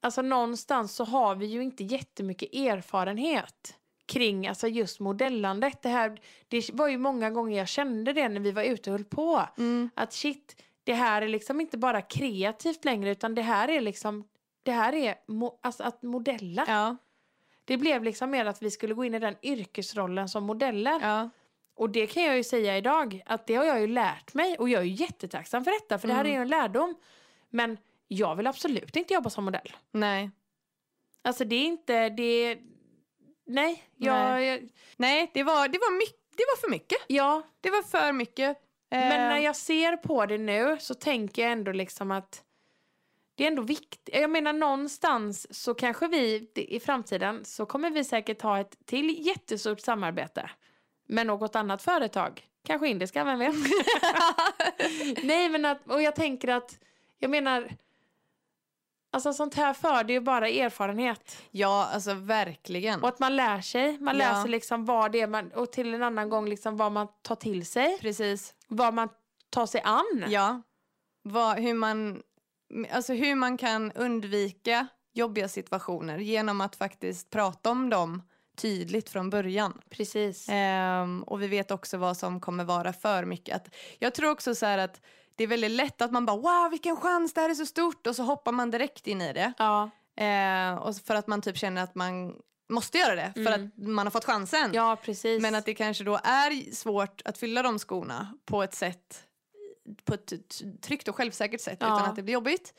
Speaker 1: alltså, någonstans så har vi ju inte jättemycket erfarenhet kring alltså, just modellandet. Det, här, det var ju många gånger jag kände det när vi var ute och höll på.
Speaker 2: mm,
Speaker 1: Att shit, det här är liksom inte bara kreativt längre utan det här är liksom det här är mo- alltså att modella.
Speaker 2: ja,
Speaker 1: Det blev liksom mer att vi skulle gå in i den yrkesrollen som modeller.
Speaker 2: Ja.
Speaker 1: Och det kan jag ju säga idag att det har jag ju lärt mig och jag är ju jättetacksam för detta för det här är
Speaker 2: Mm.
Speaker 1: ju en lärdom. Men jag vill absolut inte jobba som modell.
Speaker 2: Nej.
Speaker 1: Alltså det är inte, det är... Nej, jag...
Speaker 2: Nej.
Speaker 1: jag
Speaker 2: Nej, det var, det, var mycket, det var för mycket.
Speaker 1: ja,
Speaker 2: Det var för mycket.
Speaker 1: men när
Speaker 2: Eh,
Speaker 1: jag ser på det nu så tänker jag ändå liksom att det är ändå viktigt. Jag menar någonstans så kanske vi i framtiden så kommer vi säkert ha ett till jättestort samarbete med något annat företag. Kanske indiska, vem
Speaker 2: [laughs]
Speaker 1: vet?
Speaker 2: Eh,
Speaker 1: Nej, men att, och jag tänker att, jag menar, alltså sånt här för det är ju bara erfarenhet.
Speaker 2: Ja, alltså verkligen.
Speaker 1: Och att man lär sig, man lär
Speaker 2: Ja.
Speaker 1: sig liksom vad det är man, och till en annan gång liksom vad man tar till sig,
Speaker 2: Precis.
Speaker 1: vad man tar sig an.
Speaker 2: Ja. Vad, hur, man, alltså hur man kan undvika jobbiga situationer genom att faktiskt prata om dem tydligt från början.
Speaker 1: Precis.
Speaker 2: Ehm, och vi vet också vad som kommer vara för mycket. Att, jag tror också så här att det är väldigt lätt att man bara wow vilken chans, det här är så stort och så hoppar man direkt in i det.
Speaker 1: Ja,
Speaker 2: Ehm, och för att man typ känner att man måste göra det för
Speaker 1: Mm.
Speaker 2: att man har fått chansen.
Speaker 1: ja precis.
Speaker 2: Men att det kanske då är svårt att fylla de skorna på ett sätt på ett t- tryggt och självsäkert sätt
Speaker 1: Ja.
Speaker 2: utan att det blir jobbigt.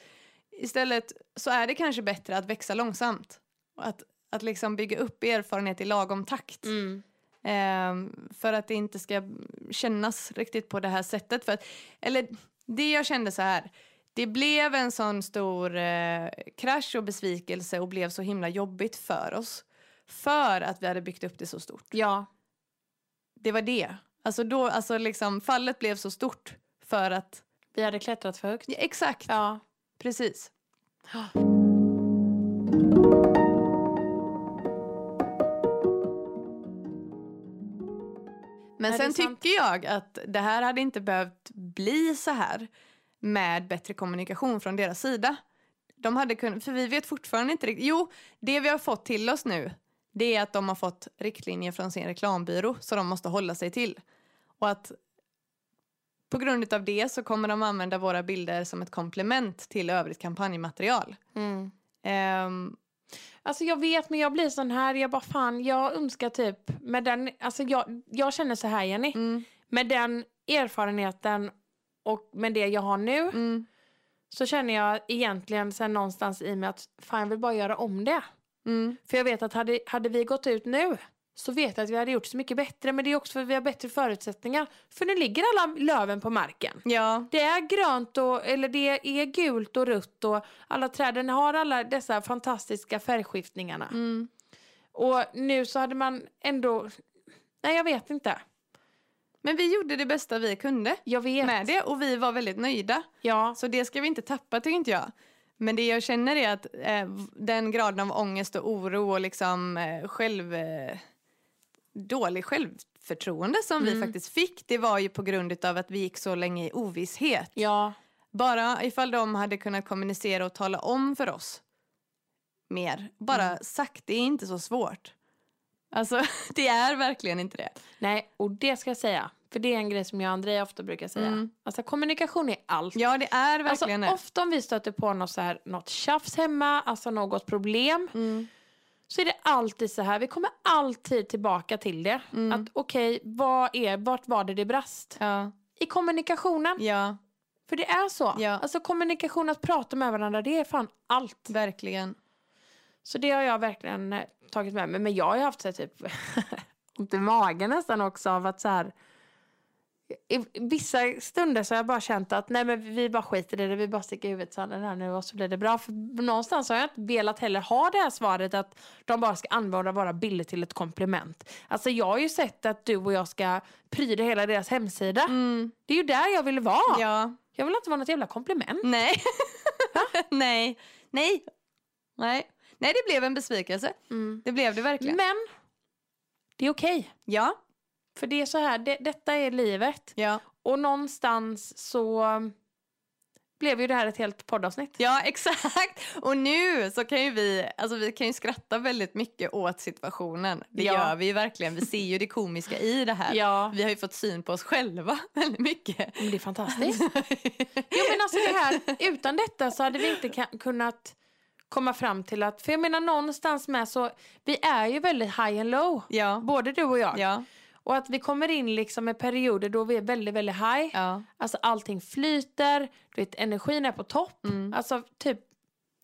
Speaker 2: Istället så är det kanske bättre att växa långsamt. Och Att, att liksom bygga upp erfarenhet i lagom takt.
Speaker 1: mm.
Speaker 2: Ehm, för att det inte ska kännas riktigt på det här sättet. För att, eller det jag kände så här. Det blev en sån stor eh, krasch och besvikelse och blev så himla jobbigt för oss. För att vi hade byggt upp det så stort
Speaker 1: Ja,
Speaker 2: det var det. Alltså, då, alltså liksom, fallet blev så stort för att...
Speaker 1: vi hade klättrat för högt.
Speaker 2: Ja, exakt,
Speaker 1: Ja.
Speaker 2: precis. Men
Speaker 1: Ja, det är
Speaker 2: sen
Speaker 1: sant.
Speaker 2: tycker jag att det här hade inte behövt bli så här med bättre kommunikation från deras sida. De hade kunnat, för vi vet fortfarande inte riktigt. Jo, det vi har fått till oss nu det är att de har fått riktlinjer från sin reklambyrå så de måste hålla sig till. Och att på grund av det så kommer de använda våra bilder som ett komplement till övrigt kampanjmaterial.
Speaker 1: Mm.
Speaker 2: Ehm,
Speaker 1: Alltså jag vet men jag blir sån här, jag bara fan jag önskar typ med den, alltså jag, jag känner så här Jenny,
Speaker 2: mm,
Speaker 1: med den erfarenheten och med det jag har nu
Speaker 2: mm,
Speaker 1: så känner jag egentligen sen någonstans i mig att fan jag vill bara göra om det.
Speaker 2: mm,
Speaker 1: För jag vet att hade, hade vi gått ut nu så vet jag att vi hade gjort så mycket bättre men det är också för att vi har bättre förutsättningar. För nu ligger alla löven på marken.
Speaker 2: ja,
Speaker 1: Det är grönt och, eller det är gult och rött och alla träden har alla dessa fantastiska färgskiftningarna.
Speaker 2: mm,
Speaker 1: Och nu så hade man ändå, nej jag vet inte.
Speaker 2: men vi gjorde det bästa vi kunde
Speaker 1: Jag vet.
Speaker 2: med det och vi var väldigt nöjda.
Speaker 1: Ja,
Speaker 2: Så det ska vi inte tappa tycker inte jag. Men det jag känner är att eh, v- den graden av ångest och oro och liksom eh, själv... Eh, dålig självförtroende som vi
Speaker 1: Mm.
Speaker 2: faktiskt fick det var ju på grund av att vi gick så länge i ovisshet.
Speaker 1: ja,
Speaker 2: Bara ifall de hade kunnat kommunicera och tala om för oss mer. Bara sagt, det är inte så svårt. Alltså, [laughs] det är verkligen inte det.
Speaker 1: nej och det ska jag säga. För det är en grej som jag och Andrea ofta brukar säga.
Speaker 2: Mm.
Speaker 1: Alltså kommunikation är allt.
Speaker 2: Ja, det är verkligen
Speaker 1: alltså, ofta om vi stöter på något, så här, något tjafs hemma, alltså något problem.
Speaker 2: det. Mm.
Speaker 1: så är det alltid så här, vi kommer alltid tillbaka till det.
Speaker 2: Mm.
Speaker 1: Att okej, vad är, vart var det det brast?
Speaker 2: Ja,
Speaker 1: I kommunikationen,
Speaker 2: ja,
Speaker 1: för det är så.
Speaker 2: Ja.
Speaker 1: Alltså kommunikation, att prata med varandra, det är fan allt.
Speaker 2: verkligen.
Speaker 1: Så det har jag verkligen eh, tagit med mig. Men jag har ju haft så här, typ [laughs] ont i magen nästan också av att så här i vissa stunder så har jag bara känt att nej men vi bara skiter i det, vi bara sticker huvudet i sanden här nu och så blir det bra. För någonstans har jag inte velat heller ha det här svaret att de bara ska använda våra bilder till ett komplement. Alltså jag har ju sett att du och jag ska pryda hela deras hemsida.
Speaker 2: Mm.
Speaker 1: Det är ju där jag vill vara.
Speaker 2: Ja.
Speaker 1: Jag vill inte vara något jävla komplement.
Speaker 2: Nej. [laughs] Nej. Nej. Nej. Nej, det blev en besvikelse. Det blev det verkligen.
Speaker 1: Men det är okej.
Speaker 2: Ja.
Speaker 1: För det är så här, det, detta är livet.
Speaker 2: Ja.
Speaker 1: Och någonstans så um, blev ju det här ett helt poddavsnitt.
Speaker 2: [laughs] ja, exakt. Och nu så kan ju vi, alltså vi kan ju skratta väldigt mycket åt situationen. Det
Speaker 1: Ja.
Speaker 2: gör vi ju verkligen. Vi ser ju det komiska i det här.
Speaker 1: Ja,
Speaker 2: Vi har ju fått syn på oss själva [laughs] väldigt mycket.
Speaker 1: men det är
Speaker 2: [laughs]
Speaker 1: fantastiskt. Jo men alltså det här, utan detta så hade vi inte ka- kunnat komma fram till att, för jag menar någonstans med så, vi är ju väldigt high and low,
Speaker 2: Ja.
Speaker 1: både du och jag.
Speaker 2: Ja.
Speaker 1: Och att vi kommer in liksom med perioder då vi är väldigt, väldigt high.
Speaker 2: Ja.
Speaker 1: Alltså allting flyter, du vet, energin är på topp.
Speaker 2: Mm.
Speaker 1: Alltså typ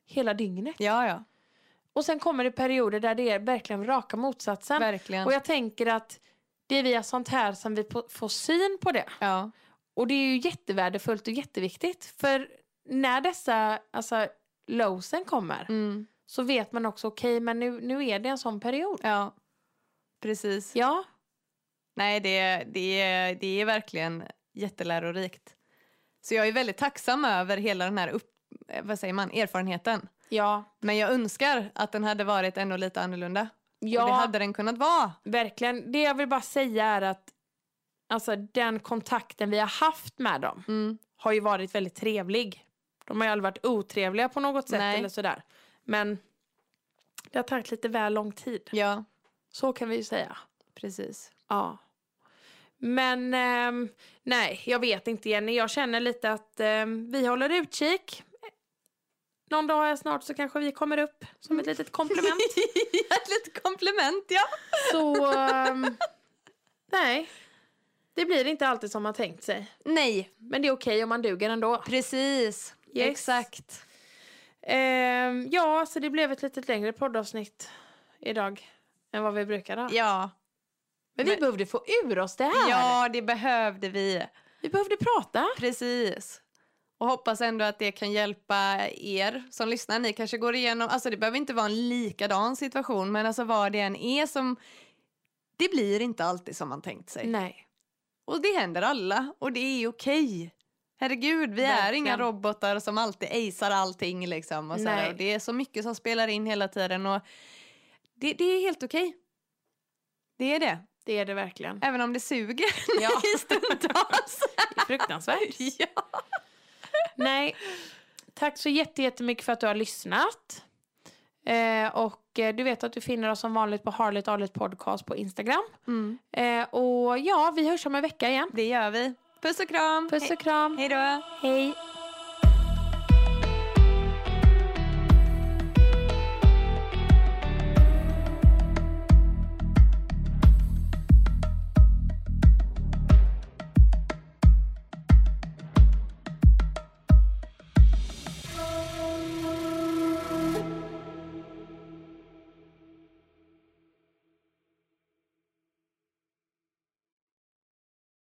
Speaker 1: hela dygnet.
Speaker 2: Ja, ja.
Speaker 1: Och sen kommer det perioder där det är verkligen raka motsatsen.
Speaker 2: Verkligen.
Speaker 1: Och jag tänker att det är via sånt här som vi på- får syn på det.
Speaker 2: Ja.
Speaker 1: Och det är ju jättevärdefullt och jätteviktigt. För när dessa alltså, lowsen kommer
Speaker 2: Mm.
Speaker 1: så vet man också okej men nu, nu är det en sån period.
Speaker 2: Ja. Precis.
Speaker 1: Ja,
Speaker 2: Nej, det, det, det är verkligen jättelärorikt. Så jag är väldigt tacksam över hela den här upp, eh, vad säger man, erfarenheten.
Speaker 1: ja,
Speaker 2: Men jag önskar att den hade varit ändå lite annorlunda. Ja.
Speaker 1: ja.
Speaker 2: Och det hade den kunnat vara.
Speaker 1: Verkligen. Det jag vill bara säga är att alltså, den kontakten vi har haft med dem
Speaker 2: Mm.
Speaker 1: har ju varit väldigt trevlig. De har ju aldrig varit otrevliga på något sätt
Speaker 2: Nej.
Speaker 1: eller sådär. Men det har tagit lite väl lång tid.
Speaker 2: Ja,
Speaker 1: Så kan vi ju säga.
Speaker 2: [laughs] precis.
Speaker 1: Ja. Men ehm, nej, jag vet inte Jenny. Jag känner lite att ehm, vi håller utkik. Någon dag här snart så kanske vi kommer upp som ett litet komplement.
Speaker 2: Ett litet komplement, ja.
Speaker 1: [laughs] Så ehm, nej, det blir inte alltid som man tänkt sig.
Speaker 2: Nej,
Speaker 1: Men det är okej om man duger ändå.
Speaker 2: precis.
Speaker 1: Yes.
Speaker 2: Exakt.
Speaker 1: Ehm, ja, så det blev ett lite längre poddavsnitt idag än vad vi brukar ha.
Speaker 2: Ja.
Speaker 1: Men vi
Speaker 2: Men-
Speaker 1: behövde få ur oss det här.
Speaker 2: ja, det behövde vi.
Speaker 1: Vi behövde prata.
Speaker 2: Precis. Och hoppas ändå att det kan hjälpa er som lyssnar. Ni kanske går igenom, alltså det behöver inte vara en likadan situation, men alltså vad det än är som, det blir inte alltid som man tänkt sig.
Speaker 1: Nej,
Speaker 2: Och det händer alla, och det är okej. Herregud, vi är
Speaker 1: Verkligen.
Speaker 2: inga robotar som alltid acear allting liksom. Och, så här,
Speaker 1: Nej.
Speaker 2: och det är så mycket som spelar in hela tiden och det, det är helt okej. Det är det,
Speaker 1: det är det [laughs] verkligen.
Speaker 2: även om det suger [laughs]
Speaker 1: Ja.
Speaker 2: i stundtals.
Speaker 1: Fruktansvärt.
Speaker 2: ja.
Speaker 1: Nej. Tack så jätte- jättemycket för att du har lyssnat. Eh, och eh, du vet att du finner oss som vanligt på Harlet Arlet Podcast på Instagram.
Speaker 2: Mm.
Speaker 1: Eh, och ja, vi hörs om en vecka igen.
Speaker 2: Det gör vi. Puss och kram!
Speaker 1: Puss och kram.
Speaker 2: Hej då!
Speaker 1: Hej.